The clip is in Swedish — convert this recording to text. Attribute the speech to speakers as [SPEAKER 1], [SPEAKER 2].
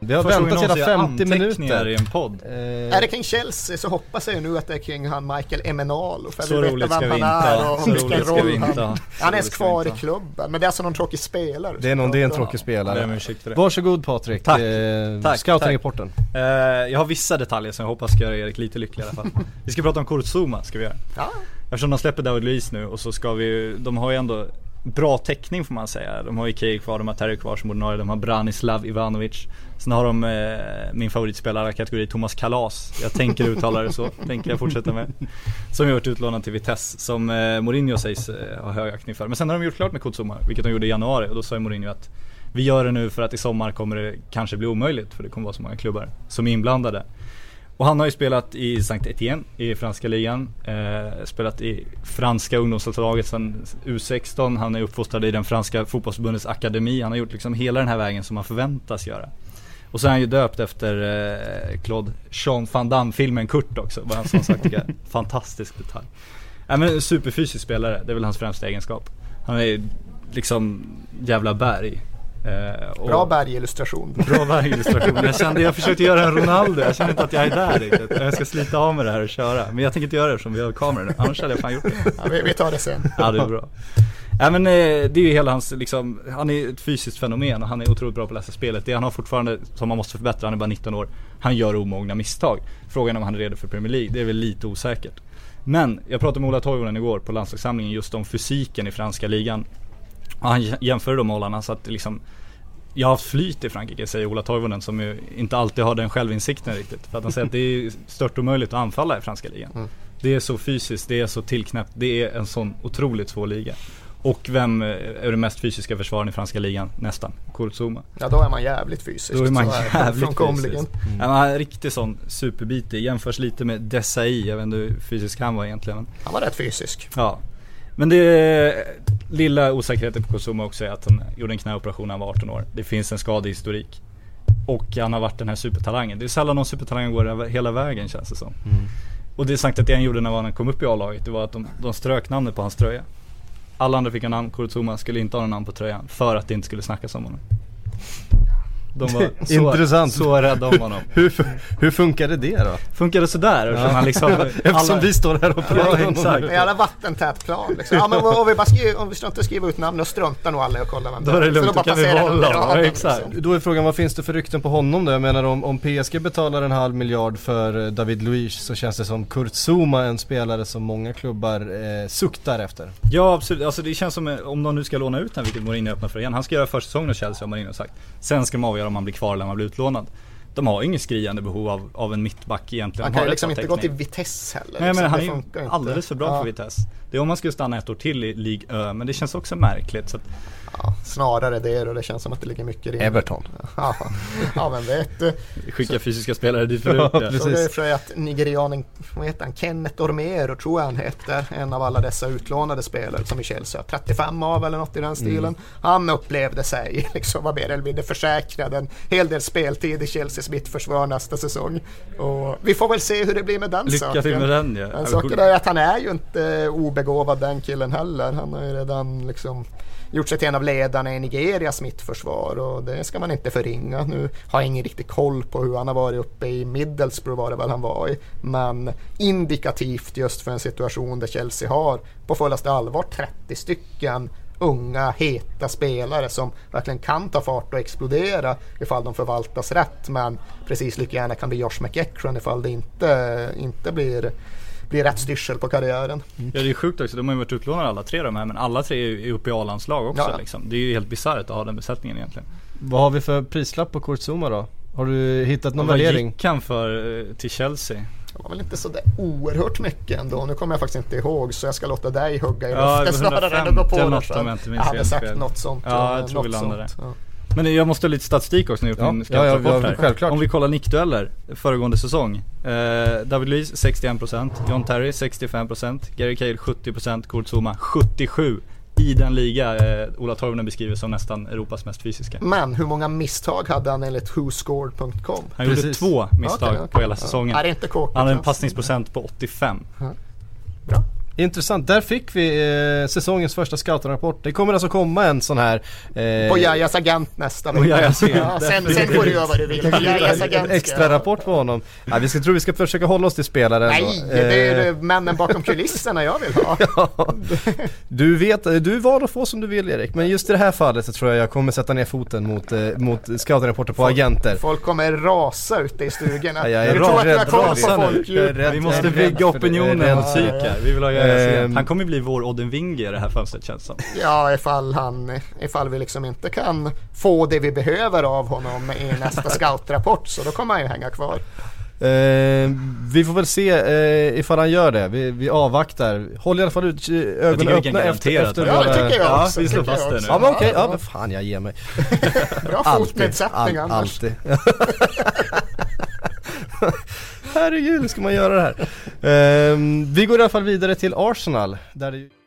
[SPEAKER 1] Vi har
[SPEAKER 2] Första
[SPEAKER 1] väntat
[SPEAKER 2] gången
[SPEAKER 1] hela
[SPEAKER 2] någonsin jag
[SPEAKER 1] 50
[SPEAKER 2] anteckningar
[SPEAKER 1] minuter.
[SPEAKER 2] i en podd.
[SPEAKER 3] Är det kring Chelsea så hoppas jag ju nu att det är kring han Michael Emenalo. För jag
[SPEAKER 2] Så
[SPEAKER 3] vill
[SPEAKER 2] roligt
[SPEAKER 3] veta
[SPEAKER 2] ska
[SPEAKER 3] vem
[SPEAKER 2] vi inte
[SPEAKER 3] han
[SPEAKER 2] ha.
[SPEAKER 3] är
[SPEAKER 2] Så
[SPEAKER 3] och vilken
[SPEAKER 2] roligt ska vi
[SPEAKER 3] roll
[SPEAKER 2] inte
[SPEAKER 3] han...
[SPEAKER 2] ha.
[SPEAKER 3] Han är ens
[SPEAKER 2] roligt ska
[SPEAKER 3] kvar
[SPEAKER 2] vi inte
[SPEAKER 3] i
[SPEAKER 2] ha.
[SPEAKER 3] klubben, men det är alltså någon tråkig spelare.
[SPEAKER 1] Det är, någon, det är en tråkig
[SPEAKER 2] Jag ber om
[SPEAKER 1] spelare.
[SPEAKER 2] ursäkt för det.
[SPEAKER 1] Varsågod Patrik.
[SPEAKER 2] Tack.
[SPEAKER 1] Eh,
[SPEAKER 2] Tack,
[SPEAKER 1] Scoutingrapporten.
[SPEAKER 2] Eh, jag har vissa detaljer som jag hoppas ska göra Erik lite lycklig i alla fall. vi ska prata om Kurzuma, ska vi göra.
[SPEAKER 3] Ja.
[SPEAKER 2] Eftersom de släpper David Luiz nu och så ska vi ju- de har ju ändå bra täckning får man säga. De har ju Key kvar, de har Terry kvar som ordinarie, de har Branislav Ivanovic. Sen har de eh, min favoritspelare i kategori, Thomas Kalas. Jag tänker uttala det så, tänker jag fortsätta med. Som har varit utlånad till Vitesse, som eh, Mourinho sägs eh, ha högaktning för. Men sen har de gjort klart med Kutsuma, vilket de gjorde i januari och då sa ju Mourinho att vi gör det nu för att i sommar kommer det kanske bli omöjligt för det kommer vara så många klubbar som är inblandade. Och han har ju spelat i Saint Etienne i franska ligan. Eh, spelat i franska ungdomslaget sedan U16. Han är uppfostrad i den franska fotbollsförbundets akademi. Han har gjort liksom hela den här vägen som man förväntas göra. Och så är han ju döpt efter eh, Claude Jean van Damme-filmen Kurt också. Vad han som sagt tycker är en fantastisk detalj. Ja, men superfysisk spelare, det är väl hans främsta egenskap. Han är ju liksom jävla berg. Eh, och-
[SPEAKER 3] Bra bergillustration.
[SPEAKER 2] Bra bergillustration. Jag kände, jag försökte göra en Ronaldo, jag känner inte att jag är där riktigt. Jag ska slita av med det här och köra. Men jag tänker inte göra det eftersom vi har kameror nu. Annars hade jag fan gjort det.
[SPEAKER 3] Ja, vi, vi tar det sen.
[SPEAKER 2] Ja, det är bra. Ja, men, eh, det är ju hela hans, liksom, han är ett fysiskt fenomen och han är otroligt bra på att läsa spelet. Det han har fortfarande, som man måste förbättra, han är bara 19 år. Han gör omogna misstag. Frågan om han är redo för Premier League, det är väl lite osäkert. Men jag pratade med Ola Toivonen igår på landslagssamlingen just om fysiken i franska ligan. Och han jämförde de målarna så att det liksom jag har haft flyt i Frankrike säger Ola Toivonen som ju inte alltid har den självinsikten riktigt. För att han säger att det är stört omöjligt att anfalla i franska ligan. Det är så fysiskt, det är så tillknäppt, det är en sån otroligt svår liga. Och vem eh, är den mest fysiska försvararen i franska ligan? Nästan, Kurzuma.
[SPEAKER 3] Ja, då är man jävligt fysisk.
[SPEAKER 2] Då är man
[SPEAKER 3] Så det
[SPEAKER 2] jävligt fysisk. Mm.
[SPEAKER 3] frånkomligen.
[SPEAKER 2] Ja, men Han är riktigt sån superbitig, jämförs lite med Desai, jag vet inte hur fysisk han var egentligen. Men
[SPEAKER 3] Han var rätt fysisk.
[SPEAKER 2] Ja. Men det lilla osäkerheten på Kosuma också är att han gjorde en knäoperation när han var 18 år. Det finns en skadehistorik. Och han har varit den här supertalangen. Det är sällan någon supertalang går hela vägen känns det som.
[SPEAKER 1] Mm.
[SPEAKER 2] Och det sagt att det han gjorde när han kom upp i A-laget, det var att de, de strök namnet på hans tröja. Alla andra fick ha namn, Kurutsuma skulle inte ha något namn på tröjan för att det inte skulle snackas om honom. De var så,
[SPEAKER 1] Intressant.
[SPEAKER 2] så rädda om honom.
[SPEAKER 1] Hur, fu- hur funkade det då?
[SPEAKER 2] Funkade sådär eftersom han liksom...
[SPEAKER 1] Eftersom vi står här och pratar om
[SPEAKER 2] exakt.
[SPEAKER 3] En jävla vattentät plan liksom. Ja, men om vi, bara skriver, om vi inte skriver ut namn, då struntar nog alla i att kolla vem
[SPEAKER 2] Då är det lugnt, då kan vi behålla honom. Ja, exakt.
[SPEAKER 3] Liksom.
[SPEAKER 1] Då är frågan, vad finns det för rykten på honom då? Jag menar om, om PSG betalar en halv miljard för eh, David Luiz så känns det som Kurt Zuma en spelare som många klubbar eh, suktar efter.
[SPEAKER 2] Ja absolut, alltså det känns som eh, om de nu ska låna ut den vilket Mourinho öppnar för igen. Han ska göra försäsongen hos Chelsea har Mourinho sagt. Sen ska de avgöra om han blir kvar eller om han blir utlånad. De har ju ingen skriande behov av, av en mittback egentligen.
[SPEAKER 3] Han
[SPEAKER 2] De har
[SPEAKER 3] kan ju
[SPEAKER 2] rätt
[SPEAKER 3] liksom
[SPEAKER 2] bra
[SPEAKER 3] inte gå
[SPEAKER 2] täckning.
[SPEAKER 3] till Vitesse heller.
[SPEAKER 2] Nej men
[SPEAKER 3] liksom.
[SPEAKER 2] han
[SPEAKER 3] Det
[SPEAKER 2] är ju
[SPEAKER 3] funkar inte.
[SPEAKER 2] alldeles för bra
[SPEAKER 3] Ja,
[SPEAKER 2] för Vitesse. Det är om han skulle stanna ett år till i League Ö, men det känns också märkligt. Så att,
[SPEAKER 3] ja, Snarare det och det känns som att det ligger mycket i det.
[SPEAKER 1] Everton.
[SPEAKER 3] Ja, ja men vet du.
[SPEAKER 2] skicka fysiska spelare dit förut.
[SPEAKER 1] Ja,
[SPEAKER 2] ja.
[SPEAKER 1] precis.
[SPEAKER 3] Så det är för att nigerianen, vad heter han, Kenneth Ormero tror jag han heter. En av alla dessa utlånade spelare som i Chelsea har 35 av eller något i
[SPEAKER 2] Mm.
[SPEAKER 3] den stilen. Han upplevde sig, liksom, var mer eller mindre försäkrad en hel del speltid i Chelseas mittförsvar nästa säsong. Och vi får väl se hur det blir med den
[SPEAKER 2] Lycka
[SPEAKER 3] saken.
[SPEAKER 2] till med den ja.
[SPEAKER 3] Men saken är att han är ju inte obegåvad den killen heller. Han har ju redan liksom gjort sig till en av ledarna i Nigerias mittförsvar och det ska man inte förringa. Nu har jag ingen riktig koll på hur han har varit uppe i Middlesbrough var det väl han var i. Men indikativt just för en situation där Chelsea har på fullaste allvar 30 stycken unga heta spelare som verkligen kan ta fart och explodera ifall de förvaltas rätt men precis lika gärna kan bli Josh McEachran ifall det inte, inte blir, blir rätt styrsel på karriären.
[SPEAKER 2] Ja det är sjukt också, de har ju varit utlånade alla tre de här men alla tre är ju uppe i A-landslag också
[SPEAKER 3] Ja.
[SPEAKER 2] liksom. Det är ju helt bisarrt att ha den besättningen egentligen.
[SPEAKER 1] Vad har vi för prislapp på Kurt Zuma då? Har du hittat någon
[SPEAKER 2] Vad
[SPEAKER 1] värdering?
[SPEAKER 2] gick han för eh, till Chelsea?
[SPEAKER 3] Det var väl inte så där oerhört mycket ändå. Nu kommer jag faktiskt inte ihåg så jag ska låta dig hugga i
[SPEAKER 2] Ja, det var
[SPEAKER 3] luften snarare än att gå
[SPEAKER 2] 150
[SPEAKER 3] på
[SPEAKER 2] eller något, om
[SPEAKER 3] det.
[SPEAKER 2] jag
[SPEAKER 3] sen.
[SPEAKER 2] inte
[SPEAKER 3] Jag
[SPEAKER 2] minns
[SPEAKER 3] hade
[SPEAKER 2] helt
[SPEAKER 3] sagt
[SPEAKER 2] fel.
[SPEAKER 3] något sånt.
[SPEAKER 2] Ja,
[SPEAKER 3] eh,
[SPEAKER 2] jag tror vi
[SPEAKER 3] något
[SPEAKER 2] landade
[SPEAKER 3] sånt, ja.
[SPEAKER 2] Men jag måste ha lite statistik också när jag
[SPEAKER 1] Ja.
[SPEAKER 2] gjort min
[SPEAKER 1] Ja, ja,
[SPEAKER 2] scoutrapport
[SPEAKER 1] ja,
[SPEAKER 2] här.
[SPEAKER 1] självklart.
[SPEAKER 2] Om vi kollar nickdueller föregående säsong. Eh, David Luiz 61%, John Terry 65%, Gary Cahill 70%, Kurt Zuma 77%. i den liga eh, Ola Toivonen beskriver som nästan Europas mest fysiska.
[SPEAKER 3] Men hur många misstag hade han enligt whoscored.com?
[SPEAKER 2] Han gjorde
[SPEAKER 1] Precis.
[SPEAKER 2] två misstag
[SPEAKER 3] Okej, okej.
[SPEAKER 2] på hela
[SPEAKER 3] Ja.
[SPEAKER 2] säsongen.
[SPEAKER 3] Är det inte kk
[SPEAKER 2] Han hade en passningsprocent på 85.
[SPEAKER 1] Intressant, där fick vi eh, säsongens första scoutrapport. Det kommer alltså komma en sån här... eh,
[SPEAKER 3] På Jajas agent nästa
[SPEAKER 2] På Jajas agent.
[SPEAKER 3] ja, sen, sen får du göra vad du vill. Jajas agent
[SPEAKER 1] en
[SPEAKER 3] ska-
[SPEAKER 1] extra rapport på honom. Ja, vi ska, tror vi ska försöka hålla oss till spelaren.
[SPEAKER 3] Nej,
[SPEAKER 1] då.
[SPEAKER 3] det är
[SPEAKER 1] Eh,
[SPEAKER 3] ju männen bakom kulisserna jag vill ha.
[SPEAKER 1] Du vet, du var och få som du vill Erik, men just i det här fallet så tror jag jag kommer sätta ner foten mot, eh, mot scoutrapporter på agenter.
[SPEAKER 3] Folk kommer rasa ute i stugorna.
[SPEAKER 1] Ja, jag är
[SPEAKER 3] du tror att jag
[SPEAKER 1] rädd-
[SPEAKER 3] koll på
[SPEAKER 1] rasar nu.
[SPEAKER 3] folk
[SPEAKER 1] Jag är
[SPEAKER 3] ju.
[SPEAKER 1] rädd-
[SPEAKER 2] Vi
[SPEAKER 1] jag
[SPEAKER 2] måste
[SPEAKER 1] är rädd
[SPEAKER 2] bygga
[SPEAKER 1] för det. Jag
[SPEAKER 2] opinionen
[SPEAKER 1] är rädd
[SPEAKER 2] och
[SPEAKER 1] för det.
[SPEAKER 2] psyka. Vi vill ha
[SPEAKER 1] Ehm.
[SPEAKER 2] Jajas igen. Han kommer bli vår Odden Winge i det här fönstret känns som.
[SPEAKER 3] Ja, ifall, han, ifall vi liksom inte kan få det vi behöver av honom i nästa scoutrapport. Så då kommer han ju hänga kvar.
[SPEAKER 1] Eh, vi får väl se eh, ifall han gör det. Vi, vi avvaktar. Håll i alla fall ut eh, ögonen
[SPEAKER 2] tycker vi kan
[SPEAKER 1] öppna efter,
[SPEAKER 2] garantera att
[SPEAKER 1] efter
[SPEAKER 2] han gör
[SPEAKER 3] Ja, det
[SPEAKER 2] det.
[SPEAKER 3] tycker jag
[SPEAKER 2] Ja,
[SPEAKER 3] också.
[SPEAKER 2] vi slår
[SPEAKER 3] tycker jag
[SPEAKER 2] fast det
[SPEAKER 3] också.
[SPEAKER 1] Ja men okej, ja men fan jag ger mig.
[SPEAKER 3] Bra fotnedsättning
[SPEAKER 1] all-
[SPEAKER 3] annars.
[SPEAKER 1] alltid. Herregud, hur ska man göra det här? Ehm, vi går i alla fall vidare till Arsenal. Där det...